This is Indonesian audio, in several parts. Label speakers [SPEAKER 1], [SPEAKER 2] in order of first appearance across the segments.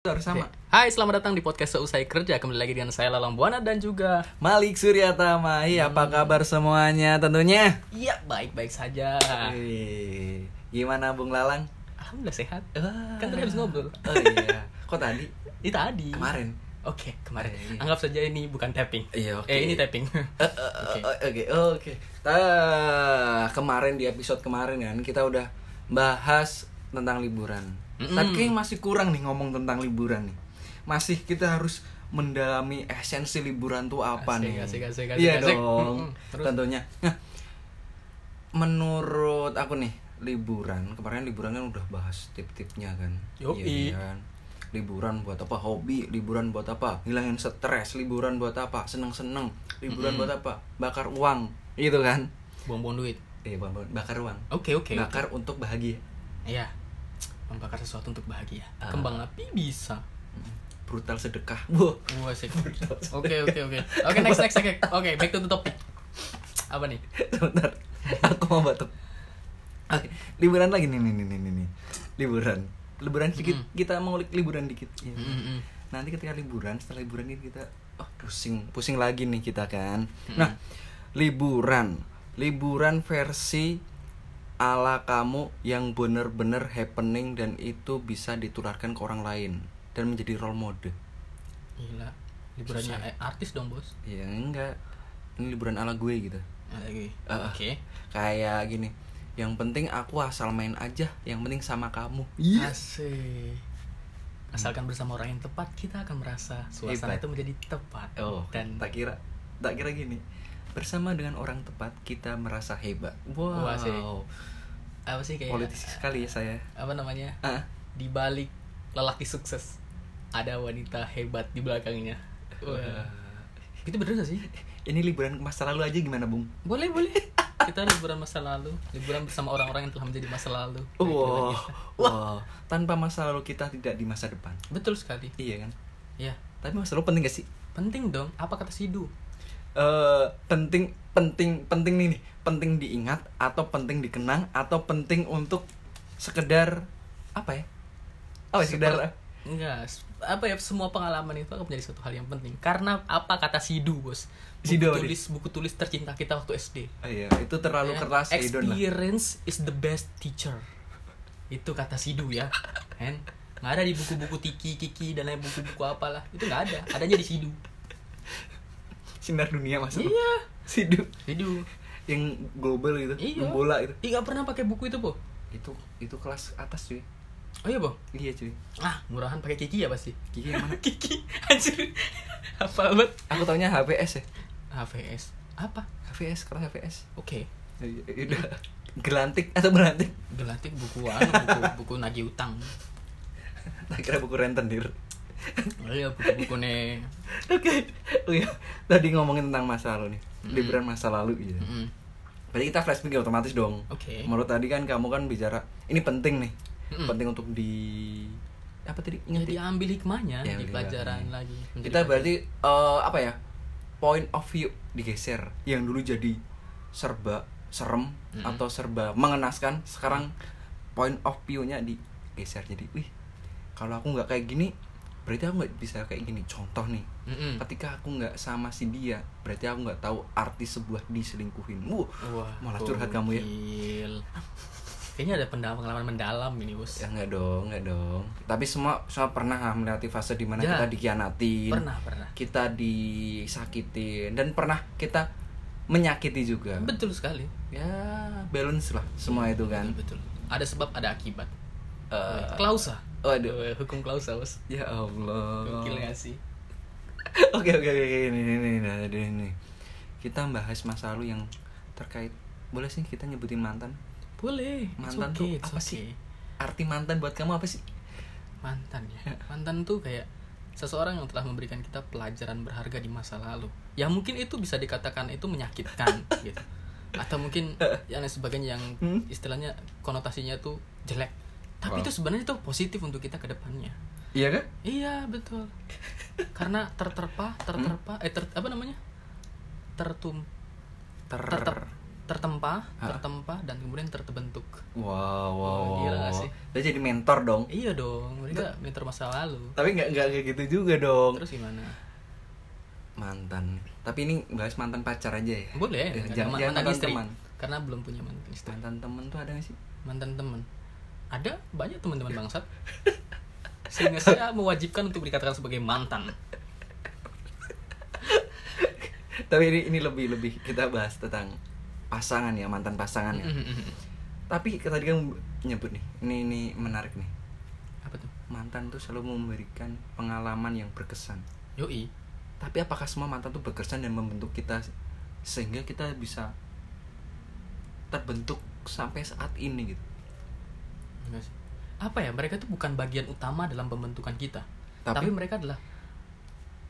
[SPEAKER 1] harus sama.
[SPEAKER 2] Hai, selamat datang di podcast Seusai Kerja. Kembali lagi dengan saya Lalang Buana dan juga
[SPEAKER 1] Malik Suryatama. Iya, apa kabar semuanya tentunya?
[SPEAKER 2] Iya, baik-baik saja.
[SPEAKER 1] Wih, Gimana Bung Lalang?
[SPEAKER 2] Alhamdulillah sehat.
[SPEAKER 1] Wah.
[SPEAKER 2] Kan tadi habis ngobrol.
[SPEAKER 1] Oh iya. Kok tadi?
[SPEAKER 2] Ini tadi.
[SPEAKER 1] Kemarin.
[SPEAKER 2] Oke, kemarin.
[SPEAKER 1] Eh, iya.
[SPEAKER 2] Anggap saja ini bukan tapping.
[SPEAKER 1] Iya, oke.
[SPEAKER 2] Eh, ini tapping.
[SPEAKER 1] Eh, eh, eh, Oke, oke. Tah, kemarin di episode kemarin kan kita udah bahas tentang liburan.
[SPEAKER 2] Mm-mm.
[SPEAKER 1] Tapi kayaknya masih kurang nih ngomong tentang liburan nih. Masih kita harus mendalami esensi liburan tuh apa
[SPEAKER 2] Asik,
[SPEAKER 1] nih?
[SPEAKER 2] asik, asik, asik,
[SPEAKER 1] iya
[SPEAKER 2] asik.
[SPEAKER 1] dong.
[SPEAKER 2] Mm-mm. Terus?
[SPEAKER 1] Tentunya. Nah, menurut aku nih liburan kemarin liburan kan udah bahas tip-tipnya kan.
[SPEAKER 2] Yoi.
[SPEAKER 1] Iya kan? liburan buat apa hobi liburan buat apa ngilangin stres liburan buat apa seneng seneng liburan buat apa bakar uang gitu kan
[SPEAKER 2] Buang-buang duit.
[SPEAKER 1] eh bukan, bukan, bakar uang
[SPEAKER 2] Oke, oke. oke.
[SPEAKER 1] bakar untuk bahagia
[SPEAKER 2] Iya. Membakar sesuatu untuk bahagia.
[SPEAKER 1] Ah.
[SPEAKER 2] Kembang api bisa.
[SPEAKER 1] brutal sedekah Wah,
[SPEAKER 2] Wah, asik. Oke, oke, oke. Oke, next, next, next. Oke, back to the topic. Apa nih?
[SPEAKER 1] sebentar aku mau batuk Oke, liburan lagi nih nih nih nih nih, nih. liburan liburan sedikit kita mengulik liburan dikit Iya.
[SPEAKER 2] Mm-mm.
[SPEAKER 1] nanti ketika liburan setelah liburan ini kita oh, pusing pusing lagi nih kita kan nah liburan liburan versi ala kamu yang bener-bener happening dan itu bisa ditularkan ke orang lain dan menjadi role model
[SPEAKER 2] Gila. Liburannya eh, artis dong, Bos.
[SPEAKER 1] ya enggak ini liburan ala gue gitu
[SPEAKER 2] Oke.
[SPEAKER 1] Ah.
[SPEAKER 2] Oke.
[SPEAKER 1] kayak gini yang penting aku asal main aja yang penting sama kamu
[SPEAKER 2] Iya. Asik. Asalkan bersama orang yang tepat, kita akan merasa suasana
[SPEAKER 1] Hebat.
[SPEAKER 2] itu menjadi tepat.
[SPEAKER 1] oh
[SPEAKER 2] Dan
[SPEAKER 1] tak kira tak kira gini bersama dengan orang tepat kita merasa hebat wow
[SPEAKER 2] Wah, sih. apa sih kayak
[SPEAKER 1] politisi sekali ya saya
[SPEAKER 2] apa namanya?
[SPEAKER 1] ah
[SPEAKER 2] Di balik lelaki sukses ada wanita hebat di belakangnya. Wah. Itu bener gak sih?
[SPEAKER 1] ini liburan ke masa lalu aja gimana bung
[SPEAKER 2] Boleh, boleh. Kita liburan masa lalu, liburan bersama orang-orang yang telah menjadi masa lalu.
[SPEAKER 1] Oh,
[SPEAKER 2] ya?
[SPEAKER 1] wow wow tanpa masa lalu kita tidak di masa depan
[SPEAKER 2] Betul sekali.
[SPEAKER 1] iya kan
[SPEAKER 2] Ya,
[SPEAKER 1] tapi masa lalu penting gak sih
[SPEAKER 2] penting dong. Apa kata Sidu?
[SPEAKER 1] eh penting penting penting nih nih. penting diingat atau penting dikenang atau penting untuk sekedar apa ya oh sekedar
[SPEAKER 2] Seper- Enggak, s- apa ya semua pengalaman itu akan menjadi suatu hal yang penting karena apa kata Sidu, Bos? Buku
[SPEAKER 1] Sidu apa nih?
[SPEAKER 2] tulis buku tulis tercinta kita waktu SD.
[SPEAKER 1] Oh iya, itu terlalu
[SPEAKER 2] Ya,
[SPEAKER 1] keras ya, Idon lah.
[SPEAKER 2] Experience is the best teacher. Itu kata Sidu ya. Kan? Nggak ada di buku-buku Tiki, Kiki dan lain buku-buku apalah. Itu nggak ada. Adanya di Sidu.
[SPEAKER 1] Sinar dunia masuk.
[SPEAKER 2] Iya,
[SPEAKER 1] Sidu
[SPEAKER 2] Sidu.
[SPEAKER 1] yang global gitu,
[SPEAKER 2] Iya.
[SPEAKER 1] yang bola itu.
[SPEAKER 2] Ih, nggak pernah pakai buku itu, Po.
[SPEAKER 1] Itu itu kelas atas cuy.
[SPEAKER 2] Oh iya, Po.
[SPEAKER 1] Iya cuy.
[SPEAKER 2] Ah, murahan pakai Kiki ya pasti.
[SPEAKER 1] Gigi yang mana?
[SPEAKER 2] Kiki, anjir. Apa banget?
[SPEAKER 1] Aku taunya HVS ya.
[SPEAKER 2] HVS. Apa?
[SPEAKER 1] HVS, kelas HVS.
[SPEAKER 2] Oke.
[SPEAKER 1] Ya, ya, ya Udah gelantik atau berantik?
[SPEAKER 2] Gelantik buku anu, buku, buku nagih utang.
[SPEAKER 1] Tak kira buku rentenir.
[SPEAKER 2] Oh iya, buku-buku nih.
[SPEAKER 1] Oke. Oh iya, tadi ngomongin tentang masa lalu nih. Liburan masa lalu gitu.
[SPEAKER 2] Mm-mm.
[SPEAKER 1] Berarti kita flashback ya otomatis dong.
[SPEAKER 2] Oke.
[SPEAKER 1] Menurut tadi kan kamu kan bicara ini penting nih.
[SPEAKER 2] Mm-mm.
[SPEAKER 1] Penting untuk di apa tadi? Ingat
[SPEAKER 2] Jadi ambil
[SPEAKER 1] Ya,
[SPEAKER 2] hikmahnya di
[SPEAKER 1] ambil
[SPEAKER 2] pelajaran
[SPEAKER 1] hikmahnya.
[SPEAKER 2] lagi. Menjadi
[SPEAKER 1] kita
[SPEAKER 2] pelajaran.
[SPEAKER 1] berarti eh, apa ya point of view digeser yang dulu jadi serba serem
[SPEAKER 2] Mm-mm.
[SPEAKER 1] atau serba mengenaskan sekarang point of view-nya digeser jadi wih kalau aku nggak kayak gini berarti aku nggak bisa kayak gini contoh nih
[SPEAKER 2] Mm-mm.
[SPEAKER 1] ketika aku nggak sama si dia berarti aku nggak tahu arti sebuah diselingkuhin Wuh,
[SPEAKER 2] Wah,
[SPEAKER 1] malah curhat kamu ya
[SPEAKER 2] gokil. Kayaknya ada pendalaman pengalaman mendalam ini, Bos.
[SPEAKER 1] ya nggak dong nggak dong tapi semua semua pernah lah melewati fase dimana
[SPEAKER 2] Ya.
[SPEAKER 1] kita dikhianatin
[SPEAKER 2] Pernah, pernah.
[SPEAKER 1] kita disakitin dan pernah kita menyakiti juga.
[SPEAKER 2] Betul sekali.
[SPEAKER 1] Ya, balance lah semua itu kan.
[SPEAKER 2] Betul. Ada sebab, ada akibat.
[SPEAKER 1] Eh,
[SPEAKER 2] Klausa.
[SPEAKER 1] waduh.
[SPEAKER 2] Eh, Hukum klausa, Bos.
[SPEAKER 1] Ya Allah.
[SPEAKER 2] Gokil ya. nggak sih?
[SPEAKER 1] Oke, oke, oke, oke. ini ini ini ini, ini, ini. Kita bahas masa lalu yang terkait boleh sih kita nyebutin mantan?
[SPEAKER 2] Boleh. It's
[SPEAKER 1] Mantan tuh
[SPEAKER 2] okay, it's
[SPEAKER 1] apa
[SPEAKER 2] okay.
[SPEAKER 1] sih? Arti mantan buat kamu apa sih?
[SPEAKER 2] mantan ya mantan tuh kayak seseorang yang telah memberikan kita pelajaran berharga di masa lalu ya mungkin itu bisa dikatakan itu menyakitkan gitu atau mungkin yang lain sebagainya yang
[SPEAKER 1] Hmm?
[SPEAKER 2] istilahnya konotasinya tuh jelek
[SPEAKER 1] Wow.
[SPEAKER 2] tapi itu sebenarnya tuh positif untuk kita ke depannya
[SPEAKER 1] Iya kan?
[SPEAKER 2] iya betul karena
[SPEAKER 1] Hmm?
[SPEAKER 2] terterpa terterpa eh ter, apa namanya tertum
[SPEAKER 1] Ter
[SPEAKER 2] tertep tertempa, tertempa dan kemudian terbentuk.
[SPEAKER 1] Wow, wow,
[SPEAKER 2] Wah,
[SPEAKER 1] wow.
[SPEAKER 2] Oh, gila nggak
[SPEAKER 1] wow.
[SPEAKER 2] sih?
[SPEAKER 1] Dia jadi mentor dong.
[SPEAKER 2] Iya dong, mereka mentor masa lalu.
[SPEAKER 1] Tapi nggak nggak kayak gitu juga dong.
[SPEAKER 2] Terus gimana?
[SPEAKER 1] Mantan. Tapi ini bahas mantan pacar aja ya. Ya,
[SPEAKER 2] Boleh, nggak ada
[SPEAKER 1] jangan,
[SPEAKER 2] man-
[SPEAKER 1] jangan
[SPEAKER 2] mantan
[SPEAKER 1] mantan
[SPEAKER 2] istri.
[SPEAKER 1] teman.
[SPEAKER 2] Karena belum punya mantan istri.
[SPEAKER 1] Mantan temen tuh ada nggak sih?
[SPEAKER 2] Mantan teman. Ada banyak teman-teman bangsat. Sehingga saya mewajibkan untuk dikatakan sebagai mantan.
[SPEAKER 1] Tapi ini ini lebih lebih kita bahas tentang pasangan ya mantan pasangan ya.
[SPEAKER 2] Hmm,
[SPEAKER 1] Tapi tadi kan nyebut nih, ini ini menarik nih.
[SPEAKER 2] Apa tuh?
[SPEAKER 1] Mantan tuh selalu memberikan pengalaman yang berkesan.
[SPEAKER 2] Yoi.
[SPEAKER 1] Tapi apakah semua mantan tuh berkesan dan membentuk kita se- sehingga kita bisa terbentuk sampai saat ini gitu.
[SPEAKER 2] Enggak sih. Apa ya? Mereka tuh bukan bagian utama dalam pembentukan kita. Tapi,
[SPEAKER 1] Tapi,
[SPEAKER 2] mereka adalah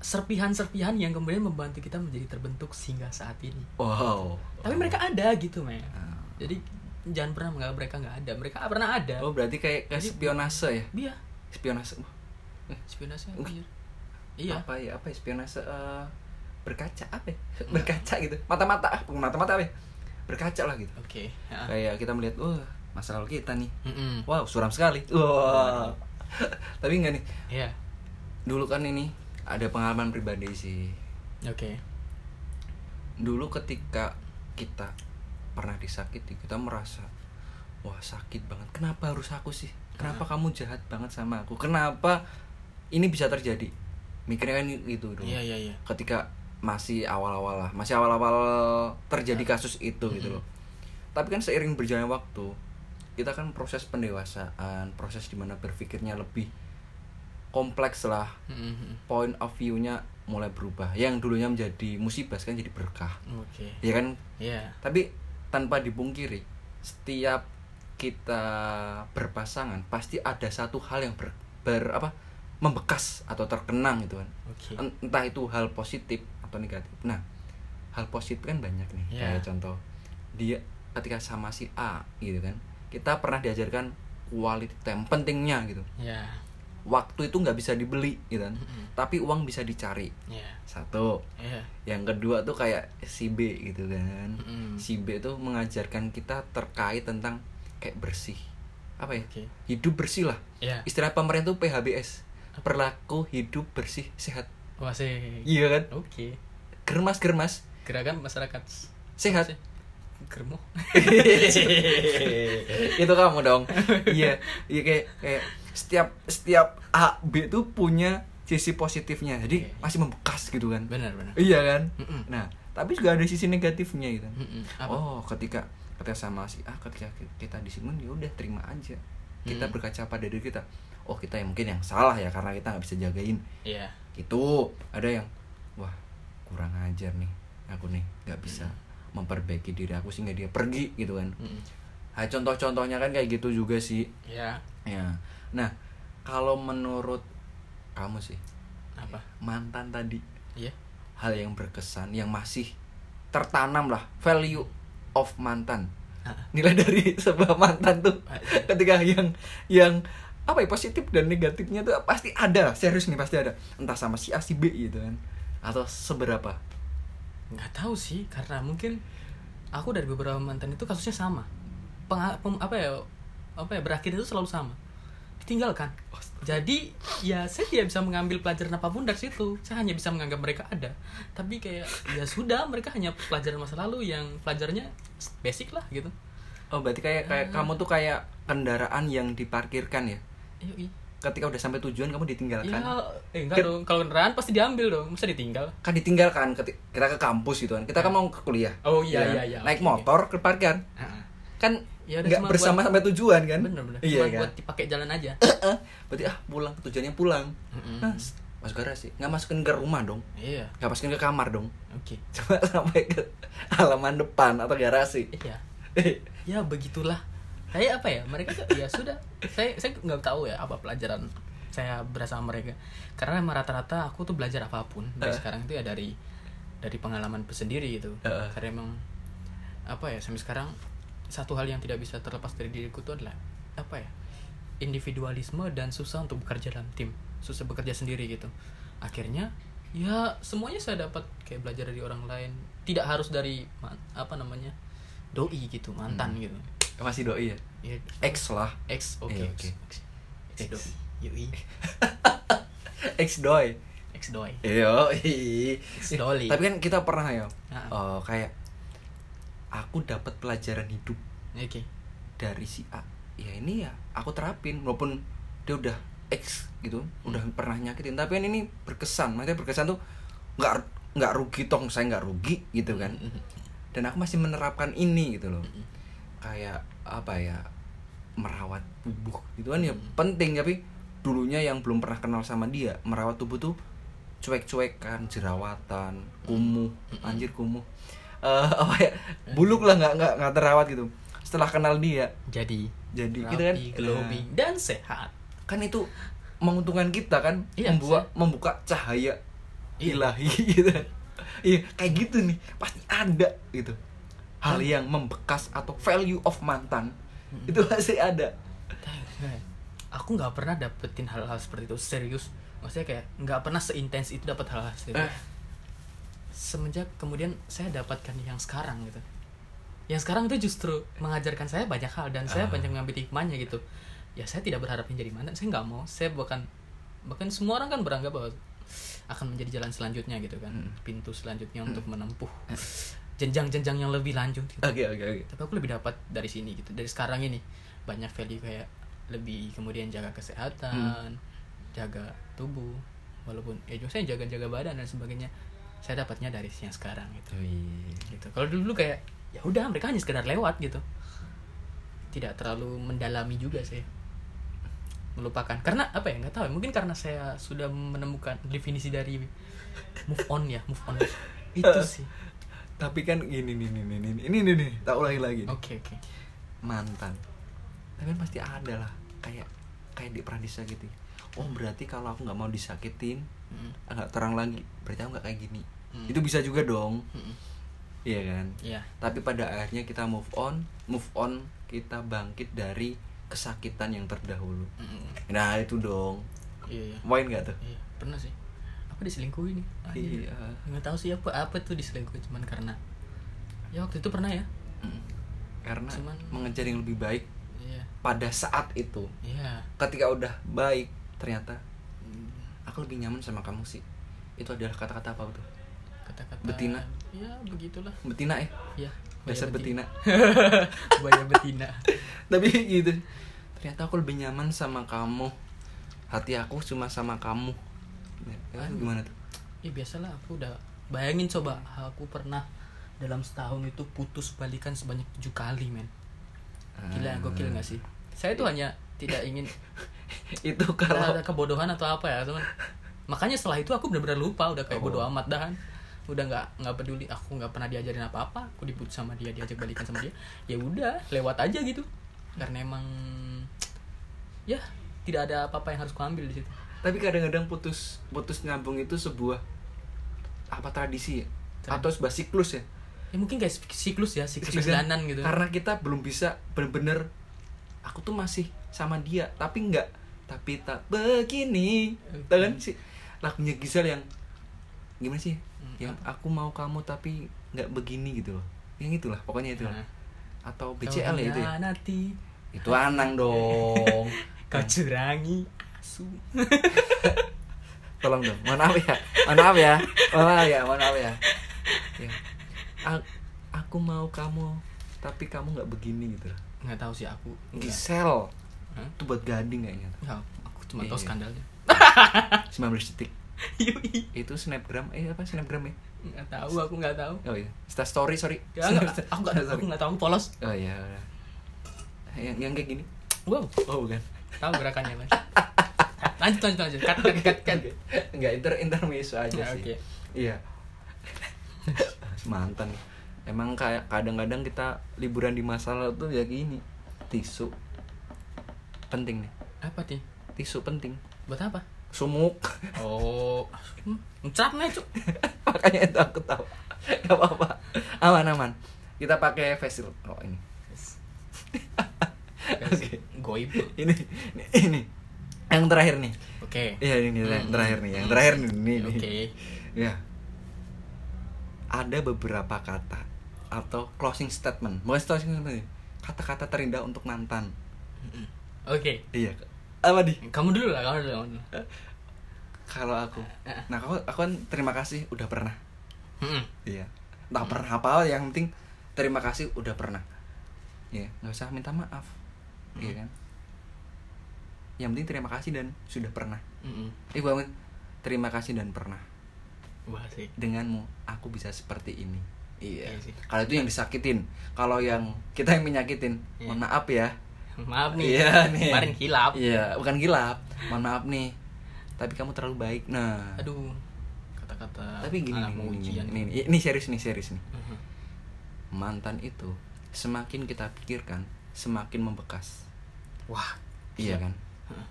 [SPEAKER 2] serpihan-serpihan yang kemudian membantu kita menjadi terbentuk sehingga saat ini.
[SPEAKER 1] wow.
[SPEAKER 2] Tapi mereka ada gitu, men.
[SPEAKER 1] Ah.
[SPEAKER 2] Jadi jangan pernah menganggap mereka nggak ada. Mereka pernah ada.
[SPEAKER 1] Oh, berarti kayak kayak
[SPEAKER 2] Jadi-
[SPEAKER 1] spionase ya?
[SPEAKER 2] Iya,
[SPEAKER 1] Spionase. Wah,
[SPEAKER 2] Eh, spionase
[SPEAKER 1] Wah.
[SPEAKER 2] anjir. Iya.
[SPEAKER 1] Apa ya? Apa ya spionase eh, berkaca apa ya? Berkaca gitu. Mata-mata, ah, mata-mata apa ya? Berkaca lah gitu.
[SPEAKER 2] Oke. Hmm, Ya.
[SPEAKER 1] Kayak kita melihat, wah, masa lalu kita nih.
[SPEAKER 2] Mm-mm.
[SPEAKER 1] Wow, suram sekali. Wow. Tapi enggak nih.
[SPEAKER 2] Iya.
[SPEAKER 1] Dulu kan ini ada pengalaman pribadi sih.
[SPEAKER 2] Oke.
[SPEAKER 1] Dulu ketika kita pernah disakiti, kita merasa wah sakit banget. Kenapa harus aku sih? Kenapa kamu jahat banget sama aku? Kenapa ini bisa terjadi? Mikirnya kan gitu dulu.
[SPEAKER 2] Iya, iya, iya.
[SPEAKER 1] Ketika masih awal-awal lah, masih awal-awal terjadi kasus itu gitu loh. Tapi kan seiring berjalannya waktu, kita kan proses pendewasaan, proses dimana berpikirnya lebih kompleks lah
[SPEAKER 2] Mm-mm.
[SPEAKER 1] point of view-nya mulai berubah. Yang dulunya menjadi musibah sekarang jadi berkah.
[SPEAKER 2] Oke.
[SPEAKER 1] Ya kan?
[SPEAKER 2] Iya.
[SPEAKER 1] Tapi tanpa dipungkiri, setiap kita berpasangan pasti ada satu hal yang ber, ber- apa? membekas atau terkenang gitu kan.
[SPEAKER 2] Oke.
[SPEAKER 1] En- Entah itu hal positif atau negatif. Nah, hal positif kan banyak nih.
[SPEAKER 2] Iya.
[SPEAKER 1] Kayak contoh dia ketika sama si A gitu kan. Kita pernah diajarkan quality time pentingnya gitu.
[SPEAKER 2] Iya.
[SPEAKER 1] Waktu itu nggak bisa dibeli gitu kan.
[SPEAKER 2] Mm-mm.
[SPEAKER 1] Tapi uang bisa dicari
[SPEAKER 2] Iya.
[SPEAKER 1] satu
[SPEAKER 2] Iya.
[SPEAKER 1] yang kedua tuh kayak si B gitu kan
[SPEAKER 2] Mm-mm.
[SPEAKER 1] si B tuh mengajarkan kita terkait tentang kayak bersih apa ya
[SPEAKER 2] Oke.
[SPEAKER 1] hidup bersih lah
[SPEAKER 2] Iya.
[SPEAKER 1] istilah pemerintah tuh PHBS perilaku hidup bersih sehat
[SPEAKER 2] Wah, sih.
[SPEAKER 1] iya kan
[SPEAKER 2] Oke.
[SPEAKER 1] germas germas
[SPEAKER 2] Gerakan masyarakat
[SPEAKER 1] sehat
[SPEAKER 2] germo.
[SPEAKER 1] itu kamu dong iya iya kayak kayak setiap setiap A B tuh punya sisi positifnya jadi
[SPEAKER 2] Iya, iya.
[SPEAKER 1] masih membekas gitu kan
[SPEAKER 2] Benar, benar.
[SPEAKER 1] iya kan
[SPEAKER 2] Mm-mm.
[SPEAKER 1] nah tapi juga ada sisi negatifnya gitu
[SPEAKER 2] Mm-mm. Apa?
[SPEAKER 1] Oh, ketika ketika sama si ah ketika ki- kita disinggung ya udah terima aja. Kita
[SPEAKER 2] Hmm.
[SPEAKER 1] berkaca pada diri kita. Oh, kita yang mungkin yang salah ya karena kita nggak bisa jagain.
[SPEAKER 2] Iya.
[SPEAKER 1] Gitu. Ada yang wah, kurang ajar nih. Aku nih nggak bisa
[SPEAKER 2] Hmm.
[SPEAKER 1] memperbaiki diri aku sehingga dia pergi gitu kan.
[SPEAKER 2] Mm-mm.
[SPEAKER 1] Ah, contoh-contohnya kan kayak gitu juga sih.
[SPEAKER 2] Iya.
[SPEAKER 1] Ya. Nah, kalau menurut kamu sih
[SPEAKER 2] Apa?
[SPEAKER 1] mantan tadi
[SPEAKER 2] Iya.
[SPEAKER 1] hal yang berkesan yang masih tertanam lah value of mantan
[SPEAKER 2] Ah.
[SPEAKER 1] nilai dari sebuah mantan tuh
[SPEAKER 2] Ah, iya.
[SPEAKER 1] ketika yang yang apa ya positif dan negatifnya tuh pasti ada lah serius nih pasti ada entah sama si A si B gitu kan atau seberapa
[SPEAKER 2] nggak tahu sih karena mungkin aku dari beberapa mantan itu kasusnya sama Pengha- pem- apa ya apa ya berakhir itu selalu sama ditinggalkan jadi ya saya tidak bisa mengambil pelajaran apapun dari situ saya hanya bisa menganggap mereka ada tapi kayak ya sudah mereka hanya pelajaran masa lalu yang pelajarannya basic lah gitu
[SPEAKER 1] oh berarti kayak kayak
[SPEAKER 2] Ah.
[SPEAKER 1] kamu tuh kayak kendaraan yang diparkirkan ya
[SPEAKER 2] Yoi.
[SPEAKER 1] ketika udah sampai tujuan kamu ditinggalkan
[SPEAKER 2] ya eh, enggak
[SPEAKER 1] Ket-
[SPEAKER 2] dong kalau kendaraan pasti diambil dong masa ditinggal
[SPEAKER 1] kan ditinggalkan keti- kita ke kampus gitu kan kita kan mau ke kuliah
[SPEAKER 2] Oh, iya,
[SPEAKER 1] Ya kan?
[SPEAKER 2] iya, iya.
[SPEAKER 1] naik
[SPEAKER 2] Oke,
[SPEAKER 1] motor ke parkiran kan
[SPEAKER 2] Ya udah,
[SPEAKER 1] nggak
[SPEAKER 2] cuma
[SPEAKER 1] bersama sampai tujuan kan
[SPEAKER 2] bener-bener
[SPEAKER 1] iya
[SPEAKER 2] Cuma
[SPEAKER 1] kan
[SPEAKER 2] buat dipakai jalan aja
[SPEAKER 1] Eh, berarti ah pulang tujuannya pulang
[SPEAKER 2] Hmm.
[SPEAKER 1] Nah, s- masuk garasi nggak masukin ke rumah dong
[SPEAKER 2] iya
[SPEAKER 1] nggak masukin ke kamar dong
[SPEAKER 2] oke
[SPEAKER 1] cuma sampai ke halaman depan atau garasi
[SPEAKER 2] iya ya begitulah saya apa ya mereka tuh- ya sudah saya saya nggak tahu ya apa pelajaran saya bersama mereka karena emang rata-rata aku tuh belajar apapun dari
[SPEAKER 1] Eh.
[SPEAKER 2] sekarang itu ya dari dari pengalaman sendiri gitu
[SPEAKER 1] Eh, eh.
[SPEAKER 2] karena emang apa ya sampai sekarang satu hal yang tidak bisa terlepas dari diriku itu adalah apa ya individualisme dan susah untuk bekerja dalam tim susah bekerja sendiri gitu akhirnya ya semuanya saya dapat kayak belajar dari orang lain tidak harus dari ma- apa namanya doi gitu mantan
[SPEAKER 1] Hmm.
[SPEAKER 2] gitu
[SPEAKER 1] masih doi ya
[SPEAKER 2] ya,
[SPEAKER 1] X lah
[SPEAKER 2] X oke
[SPEAKER 1] Iya,
[SPEAKER 2] X,
[SPEAKER 1] oke.
[SPEAKER 2] X, X,
[SPEAKER 1] X.
[SPEAKER 2] doi yoi
[SPEAKER 1] X doi
[SPEAKER 2] X doi
[SPEAKER 1] Yo,
[SPEAKER 2] X doi
[SPEAKER 1] tapi kan kita pernah ya
[SPEAKER 2] Ah, ah.
[SPEAKER 1] eh, kayak aku dapat pelajaran hidup
[SPEAKER 2] oke
[SPEAKER 1] dari si A ya ini ya aku terapin walaupun dia udah X gitu udah pernah nyakitin tapi kan ini berkesan maksudnya berkesan tuh nggak nggak rugi tong saya nggak rugi gitu kan dan aku masih menerapkan ini gitu loh kayak apa ya merawat tubuh gitu kan ya penting tapi dulunya yang belum pernah kenal sama dia merawat tubuh tuh cuek-cuekan jerawatan kumuh anjir kumuh Eh, apa ya buluk lah nggak nggak nggak terawat gitu setelah kenal dia
[SPEAKER 2] jadi
[SPEAKER 1] jadi gitu kan
[SPEAKER 2] rapi glowing dan sehat
[SPEAKER 1] Nah, kan itu menguntungkan kita kan
[SPEAKER 2] Iya,
[SPEAKER 1] membuat membuka cahaya ilahi gitu iya kayak gitu nih pasti ada gitu hal yang membekas atau value of mantan itu pasti ada
[SPEAKER 2] aku nggak pernah dapetin hal-hal seperti itu serius maksudnya kayak nggak pernah seintens itu dapat hal-hal seperti itu
[SPEAKER 1] Eh.
[SPEAKER 2] semenjak kemudian saya dapatkan yang sekarang gitu yang sekarang itu justru mengajarkan saya banyak hal dan saya banyak mengambil hikmahnya gitu ya saya tidak berharap menjadi mantan saya nggak mau saya bahkan bahkan semua orang kan beranggap bahwa akan menjadi jalan selanjutnya gitu kan pintu selanjutnya untuk menempuh jenjang-jenjang yang lebih lanjut gitu
[SPEAKER 1] oke oke oke
[SPEAKER 2] tapi aku lebih dapat dari sini gitu dari sekarang ini banyak value kayak lebih kemudian jaga kesehatan jaga tubuh walaupun ya juga saya jaga jaga badan dan sebagainya saya dapatnya dari yang sekarang gitu
[SPEAKER 1] Oh, iya.
[SPEAKER 2] gitu kalau dulu kayak ya udah mereka hanya sekedar lewat gitu tidak terlalu mendalami juga sih melupakan karena apa ya nggak tahu ya, mungkin karena saya sudah menemukan definisi dari move on ya move on itu sih
[SPEAKER 1] tapi kan gini nih nih nih nih ini nih nih tak ulangi lagi nih.
[SPEAKER 2] oke oke
[SPEAKER 1] mantan tapi kan pasti ada lah kayak kayak di Pradisa gitu oh berarti kalau aku nggak mau disakitin
[SPEAKER 2] Mm,
[SPEAKER 1] agak terang lagi berarti aku nggak kayak gini
[SPEAKER 2] Hmm.
[SPEAKER 1] itu bisa juga dong
[SPEAKER 2] mm, mm.
[SPEAKER 1] iya kan
[SPEAKER 2] iya
[SPEAKER 1] tapi pada akhirnya kita move on move on kita bangkit dari kesakitan yang terdahulu
[SPEAKER 2] mm, mm.
[SPEAKER 1] nah itu dong
[SPEAKER 2] iya iya
[SPEAKER 1] main nggak tuh
[SPEAKER 2] Iya, pernah sih. Aku diselingkuhi nih. Ah,
[SPEAKER 1] Iya.
[SPEAKER 2] Nggak tahu sih apa apa tuh diselingkuhi cuman karena ya waktu itu pernah ya.
[SPEAKER 1] Mm. karena
[SPEAKER 2] Cuman-
[SPEAKER 1] mengejar yang lebih baik
[SPEAKER 2] Iya.
[SPEAKER 1] pada saat itu
[SPEAKER 2] Iya.
[SPEAKER 1] ketika udah baik ternyata aku lebih nyaman sama kamu sih itu adalah kata-kata apa tuh
[SPEAKER 2] Kata-kata
[SPEAKER 1] Betina.
[SPEAKER 2] Ya, begitulah.
[SPEAKER 1] betina ya
[SPEAKER 2] Iya. buaya
[SPEAKER 1] dasar betina
[SPEAKER 2] buaya betina.
[SPEAKER 1] tapi gitu ternyata aku lebih nyaman sama kamu hati aku cuma sama kamu Ya, itu gimana tuh
[SPEAKER 2] Ya biasalah aku udah bayangin coba aku pernah dalam setahun itu putus balikan sebanyak tujuh kali, men.
[SPEAKER 1] Ah.
[SPEAKER 2] Gila, gokil nggak sih? Saya
[SPEAKER 1] Iya.
[SPEAKER 2] itu hanya tidak ingin
[SPEAKER 1] itu
[SPEAKER 2] kalau
[SPEAKER 1] kalau
[SPEAKER 2] ada kebodohan atau apa ya teman makanya setelah itu aku benar-benar lupa udah kayak bodo amat dahan udah nggak nggak peduli aku nggak pernah diajarin apa-apa aku diputus sama dia diajak balikan sama dia ya udah lewat aja gitu karena emang ya tidak ada apa-apa yang harus kuambil di situ
[SPEAKER 1] tapi kadang-kadang putus putus nyambung itu sebuah apa tradisi ya? atau sebuah siklus ya
[SPEAKER 2] ya mungkin kayak sik- siklus ya siklus
[SPEAKER 1] Sebenarnya,
[SPEAKER 2] jalanan gitu
[SPEAKER 1] karena kita belum bisa bener-bener aku tuh masih sama dia tapi nggak tapi tak begini Tau kan sih lagunya Gisel yang gimana sih
[SPEAKER 2] Hmm.
[SPEAKER 1] yang aku mau kamu tapi nggak begini gitu loh yang itulah pokoknya itulah
[SPEAKER 2] Nah.
[SPEAKER 1] atau
[SPEAKER 2] Kau
[SPEAKER 1] BCL ya itu ya
[SPEAKER 2] hianati,
[SPEAKER 1] itu Anang dong
[SPEAKER 2] kau curangi asu
[SPEAKER 1] tolong dong mohon maaf ya mohon maaf ya mohon maaf ya mohon maaf ya, ya. A- aku mau kamu tapi kamu nggak begini gitu loh
[SPEAKER 2] nggak tahu sih aku nggak
[SPEAKER 1] Gisel
[SPEAKER 2] Hah?
[SPEAKER 1] itu buat gading kayaknya
[SPEAKER 2] Nggak, aku cuma tahu
[SPEAKER 1] Iya.
[SPEAKER 2] skandalnya
[SPEAKER 1] 19 detik
[SPEAKER 2] Yui.
[SPEAKER 1] itu snapgram eh apa snapgram ya
[SPEAKER 2] nggak tahu aku nggak tahu
[SPEAKER 1] oh iya Insta story sorry
[SPEAKER 2] Ya, enggak, aku nggak aku
[SPEAKER 1] Sorry.
[SPEAKER 2] nggak tahu aku polos.
[SPEAKER 1] oh iya udah. yang yang kayak gini
[SPEAKER 2] Wow,
[SPEAKER 1] oh bukan
[SPEAKER 2] tahu gerakannya mas. Lanjut lanjut lanjut. Cut cut cut cut.
[SPEAKER 1] nggak inter intermezzo aja
[SPEAKER 2] Ya,
[SPEAKER 1] sih
[SPEAKER 2] oke.
[SPEAKER 1] iya mantan nih. emang kayak kadang-kadang kita liburan di masa lalu tuh ya gini tisu penting nih
[SPEAKER 2] Apa nih?
[SPEAKER 1] tisu penting
[SPEAKER 2] Buat apa?
[SPEAKER 1] sumuk
[SPEAKER 2] Oh, mencap nih cuk.
[SPEAKER 1] makanya itu aku tahu gak apa-apa aman aman kita pakai facial oh ini Oke.
[SPEAKER 2] Goib.
[SPEAKER 1] ini ini, ini. yang terakhir nih
[SPEAKER 2] Oke.
[SPEAKER 1] iya ini yang
[SPEAKER 2] Hmm.
[SPEAKER 1] terakhir nih yang terakhir nih ini, ini.
[SPEAKER 2] Oke.
[SPEAKER 1] ya ada beberapa kata atau closing statement bukan closing statement sih. kata-kata terindah untuk mantan
[SPEAKER 2] Oke.
[SPEAKER 1] iya apa di
[SPEAKER 2] Kamu dulu lah, kamu dulu. kamu dulu.
[SPEAKER 1] kalau aku nah aku aku kan terima kasih udah pernah
[SPEAKER 2] Mm-mm.
[SPEAKER 1] iya entah pernah apa yang penting terima kasih udah pernah iya nggak usah minta maaf iya kan yang penting terima kasih dan sudah pernah
[SPEAKER 2] Mm-mm.
[SPEAKER 1] eh banget terima kasih dan pernah
[SPEAKER 2] Wah sih.
[SPEAKER 1] denganmu aku bisa seperti ini iya
[SPEAKER 2] Iya sih.
[SPEAKER 1] kalau itu yang disakitin kalau yang kita yang menyakitin
[SPEAKER 2] Iya.
[SPEAKER 1] mohon maaf ya
[SPEAKER 2] Maaf nih.
[SPEAKER 1] Iya, nih.
[SPEAKER 2] Kemarin hilap.
[SPEAKER 1] iya bukan gilap mohon maaf nih tapi kamu terlalu baik nah
[SPEAKER 2] Aduh. Kata-kata.
[SPEAKER 1] tapi gini
[SPEAKER 2] anak
[SPEAKER 1] nih,
[SPEAKER 2] Ah, mau
[SPEAKER 1] nih,
[SPEAKER 2] ujian.
[SPEAKER 1] nih, nih, ini serius nih serius nih
[SPEAKER 2] Mhm.
[SPEAKER 1] mantan itu semakin kita pikirkan semakin membekas
[SPEAKER 2] Wah.
[SPEAKER 1] iya kan
[SPEAKER 2] Heeh.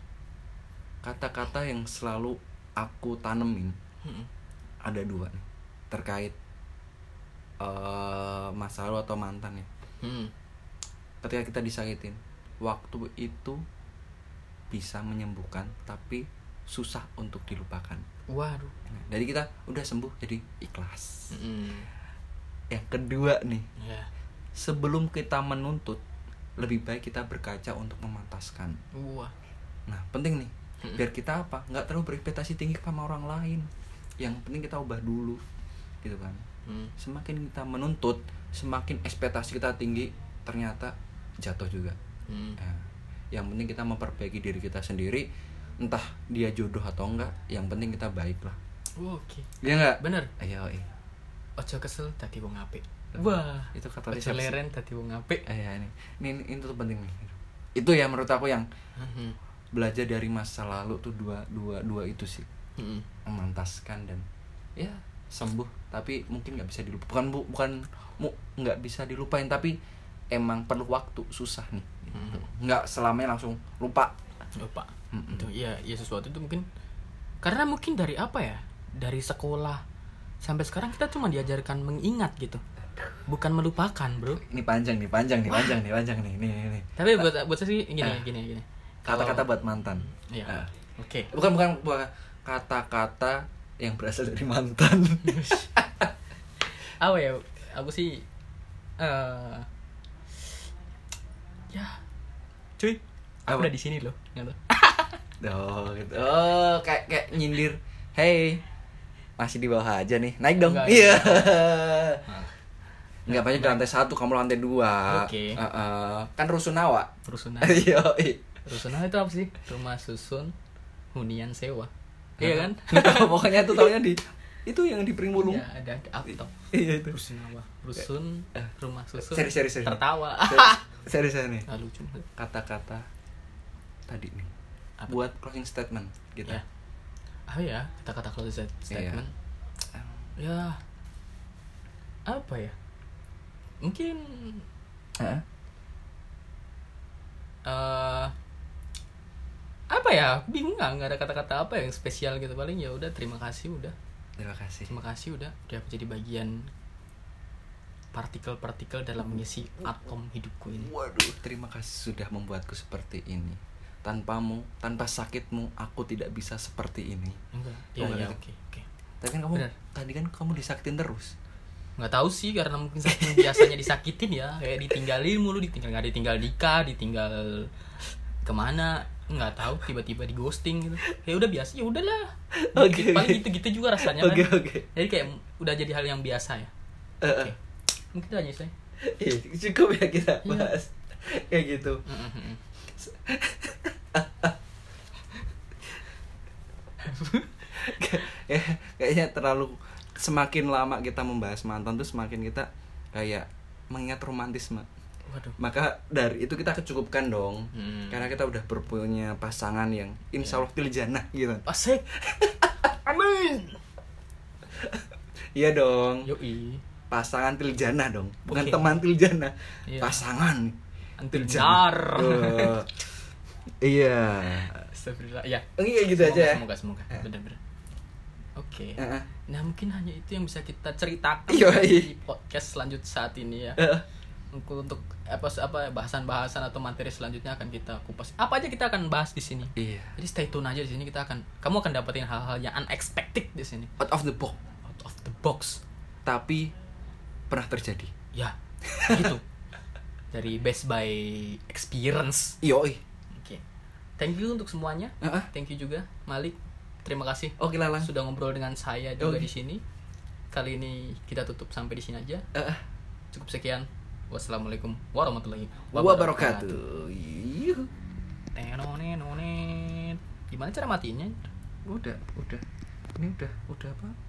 [SPEAKER 1] kata-kata yang selalu aku tanemin
[SPEAKER 2] Mm-mm.
[SPEAKER 1] ada dua nih terkait eh masa lalu atau mantan ya
[SPEAKER 2] Mm-mm.
[SPEAKER 1] ketika kita disakitin waktu itu bisa menyembuhkan tapi susah untuk dilupakan
[SPEAKER 2] Waduh.
[SPEAKER 1] nah, dari kita udah sembuh jadi ikhlas
[SPEAKER 2] Mm-mm.
[SPEAKER 1] yang kedua nih
[SPEAKER 2] Ya.
[SPEAKER 1] sebelum kita menuntut lebih baik kita berkaca untuk memantaskan
[SPEAKER 2] Wah.
[SPEAKER 1] nah penting nih
[SPEAKER 2] Mm-mm.
[SPEAKER 1] biar kita apa nggak terlalu berekspektasi tinggi sama orang lain yang penting kita ubah dulu gitu kan
[SPEAKER 2] Mm.
[SPEAKER 1] semakin kita menuntut semakin ekspektasi kita tinggi ternyata jatuh juga
[SPEAKER 2] Mm.
[SPEAKER 1] Ya. yang penting kita memperbaiki diri kita sendiri entah dia jodoh atau enggak yang penting kita baik lah
[SPEAKER 2] Oke.
[SPEAKER 1] iya enggak
[SPEAKER 2] Bener.
[SPEAKER 1] ayo eh.
[SPEAKER 2] Ojo kesel tadi wong apik. Wah.
[SPEAKER 1] itu kata
[SPEAKER 2] Ojo
[SPEAKER 1] siapa sih?
[SPEAKER 2] leren tadi wong apik.
[SPEAKER 1] Eh, ya, ini. ini ini- ini tuh penting nih itu ya menurut aku yang
[SPEAKER 2] Mhm.
[SPEAKER 1] belajar dari masa lalu tuh dua dua dua itu sih
[SPEAKER 2] Mm-mm.
[SPEAKER 1] memantaskan dan ya sembuh tapi mungkin nggak bisa dilupakan bu bukan mu nggak bisa dilupain tapi emang perlu waktu susah nih gitu.
[SPEAKER 2] Hmm.
[SPEAKER 1] nggak selamanya langsung lupa Hmm.
[SPEAKER 2] lupa
[SPEAKER 1] Mm-mm.
[SPEAKER 2] itu ya ya sesuatu itu mungkin karena mungkin dari apa ya dari sekolah sampai sekarang kita cuma diajarkan mengingat gitu bukan melupakan bro
[SPEAKER 1] ini panjang nih panjang nih panjang nih panjang nih nih nih, nih.
[SPEAKER 2] tapi buat buat saya sih gini Eh. gini gini Kalau-
[SPEAKER 1] kata-kata buat mantan
[SPEAKER 2] Iya.
[SPEAKER 1] Ah.
[SPEAKER 2] oke
[SPEAKER 1] bukan bukan bukan kata-kata yang berasal dari mantan
[SPEAKER 2] apa ya aku sih eh ya cuy aku
[SPEAKER 1] Apa?
[SPEAKER 2] udah di sini loh gitu.
[SPEAKER 1] oh gitu oh kayak kayak nyindir hey masih di bawah aja nih naik dong
[SPEAKER 2] Enggak,
[SPEAKER 1] iya
[SPEAKER 2] Nah,
[SPEAKER 1] nggak banyak di lantai satu kamu lantai dua
[SPEAKER 2] Oke.
[SPEAKER 1] Heeh. kan rusunawa
[SPEAKER 2] rusunan
[SPEAKER 1] iya
[SPEAKER 2] rusunan itu apa sih rumah susun hunian sewa iya kan
[SPEAKER 1] pokoknya itu tahunya di itu yang di Pringwulung
[SPEAKER 2] ya ada ada apa tau?
[SPEAKER 1] iya itu
[SPEAKER 2] Rusun apa? Rusun,
[SPEAKER 1] Eh.
[SPEAKER 2] eh, rumah susun.
[SPEAKER 1] Seri, seri, seri.
[SPEAKER 2] Tertawa.
[SPEAKER 1] serius saya nih
[SPEAKER 2] Ah, lucu banget.
[SPEAKER 1] kata-kata tadi nih
[SPEAKER 2] Apa?
[SPEAKER 1] buat closing statement gitu
[SPEAKER 2] Ya. Apa ya? Kata-kata
[SPEAKER 1] Iya.
[SPEAKER 2] closing stat- statement. Ya. Apa ya? Mungkin
[SPEAKER 1] Heeh.
[SPEAKER 2] eh apa ya? Aku Bingung nggak nggak ada kata-kata apa yang spesial gitu paling ya udah terima kasih udah.
[SPEAKER 1] terima kasih
[SPEAKER 2] Terima kasih udah. Udah aku jadi bagian partikel-partikel dalam mengisi atom hidupku ini.
[SPEAKER 1] waduh terima kasih sudah membuatku seperti ini tanpamu tanpa sakitmu aku tidak bisa seperti ini
[SPEAKER 2] Enggak. Ya,
[SPEAKER 1] Oh,
[SPEAKER 2] ya,
[SPEAKER 1] enggak.
[SPEAKER 2] oke, oke.
[SPEAKER 1] tapi kan kamu
[SPEAKER 2] Benar.
[SPEAKER 1] tadi kan kamu disakitin terus
[SPEAKER 2] nggak tahu sih karena mungkin saking biasanya disakitin ya kayak ditinggalin mulu ditinggal nggak ditinggal nikah ditinggal kemana nggak tahu tiba-tiba di ghosting gitu ya udah biasa ya udahlah
[SPEAKER 1] Oke,
[SPEAKER 2] Dikit- paling
[SPEAKER 1] oke.
[SPEAKER 2] gitu-gitu juga rasanya
[SPEAKER 1] oke
[SPEAKER 2] kan
[SPEAKER 1] oke
[SPEAKER 2] jadi kayak udah jadi hal yang biasa ya
[SPEAKER 1] Eh, eh.
[SPEAKER 2] mungkin itu aja sih
[SPEAKER 1] Iya, cukup ya kita
[SPEAKER 2] Iya.
[SPEAKER 1] bahas kayak gitu
[SPEAKER 2] Mm-mm-mm.
[SPEAKER 1] ya kayaknya terlalu semakin lama kita membahas mantan tuh semakin kita kayak mengingat romantisme
[SPEAKER 2] waduh
[SPEAKER 1] maka dari itu kita kecukupkan dong
[SPEAKER 2] Hmm.
[SPEAKER 1] karena kita udah berpunya pasangan yang insya Allah pilih jannah gitu
[SPEAKER 2] asik amin
[SPEAKER 1] iya dong
[SPEAKER 2] yoi
[SPEAKER 1] pasangan pilih jannah dong bukan
[SPEAKER 2] Oke.
[SPEAKER 1] teman pilih jannah
[SPEAKER 2] Iya.
[SPEAKER 1] pasangan
[SPEAKER 2] antil
[SPEAKER 1] jannah.
[SPEAKER 2] jar
[SPEAKER 1] Eh, iya
[SPEAKER 2] Astagfirullah ya
[SPEAKER 1] Oke, kayak gitu aja ya
[SPEAKER 2] semoga semoga bener-bener oke
[SPEAKER 1] Heeh.
[SPEAKER 2] Nah mungkin hanya itu yang bisa kita ceritakan
[SPEAKER 1] Yoi.
[SPEAKER 2] di podcast selanjut saat ini ya.
[SPEAKER 1] Heeh.
[SPEAKER 2] Untuk untuk apa apa bahasan-bahasan atau materi selanjutnya akan kita kupas. Apa aja kita akan bahas di sini.
[SPEAKER 1] iya
[SPEAKER 2] Jadi stay tune aja di sini kita akan kamu akan dapetin hal-hal yang unexpected di sini.
[SPEAKER 1] out of the box
[SPEAKER 2] Out of the box.
[SPEAKER 1] tapi pernah terjadi
[SPEAKER 2] ya gitu dari best by experience
[SPEAKER 1] Yoi.
[SPEAKER 2] oke thank you untuk semuanya
[SPEAKER 1] Heeh.
[SPEAKER 2] thank you juga Malik terima kasih
[SPEAKER 1] Oke lalang.
[SPEAKER 2] sudah ngobrol dengan saya juga
[SPEAKER 1] Oke.
[SPEAKER 2] di sini kali ini kita tutup sampai di sini aja
[SPEAKER 1] Heeh.
[SPEAKER 2] cukup sekian wassalamualaikum warahmatullahi
[SPEAKER 1] Wabarakatuh. Yuhu.
[SPEAKER 2] Tenonenonet. gimana cara matinya
[SPEAKER 1] Udah, udah. Ini udah, udah apa?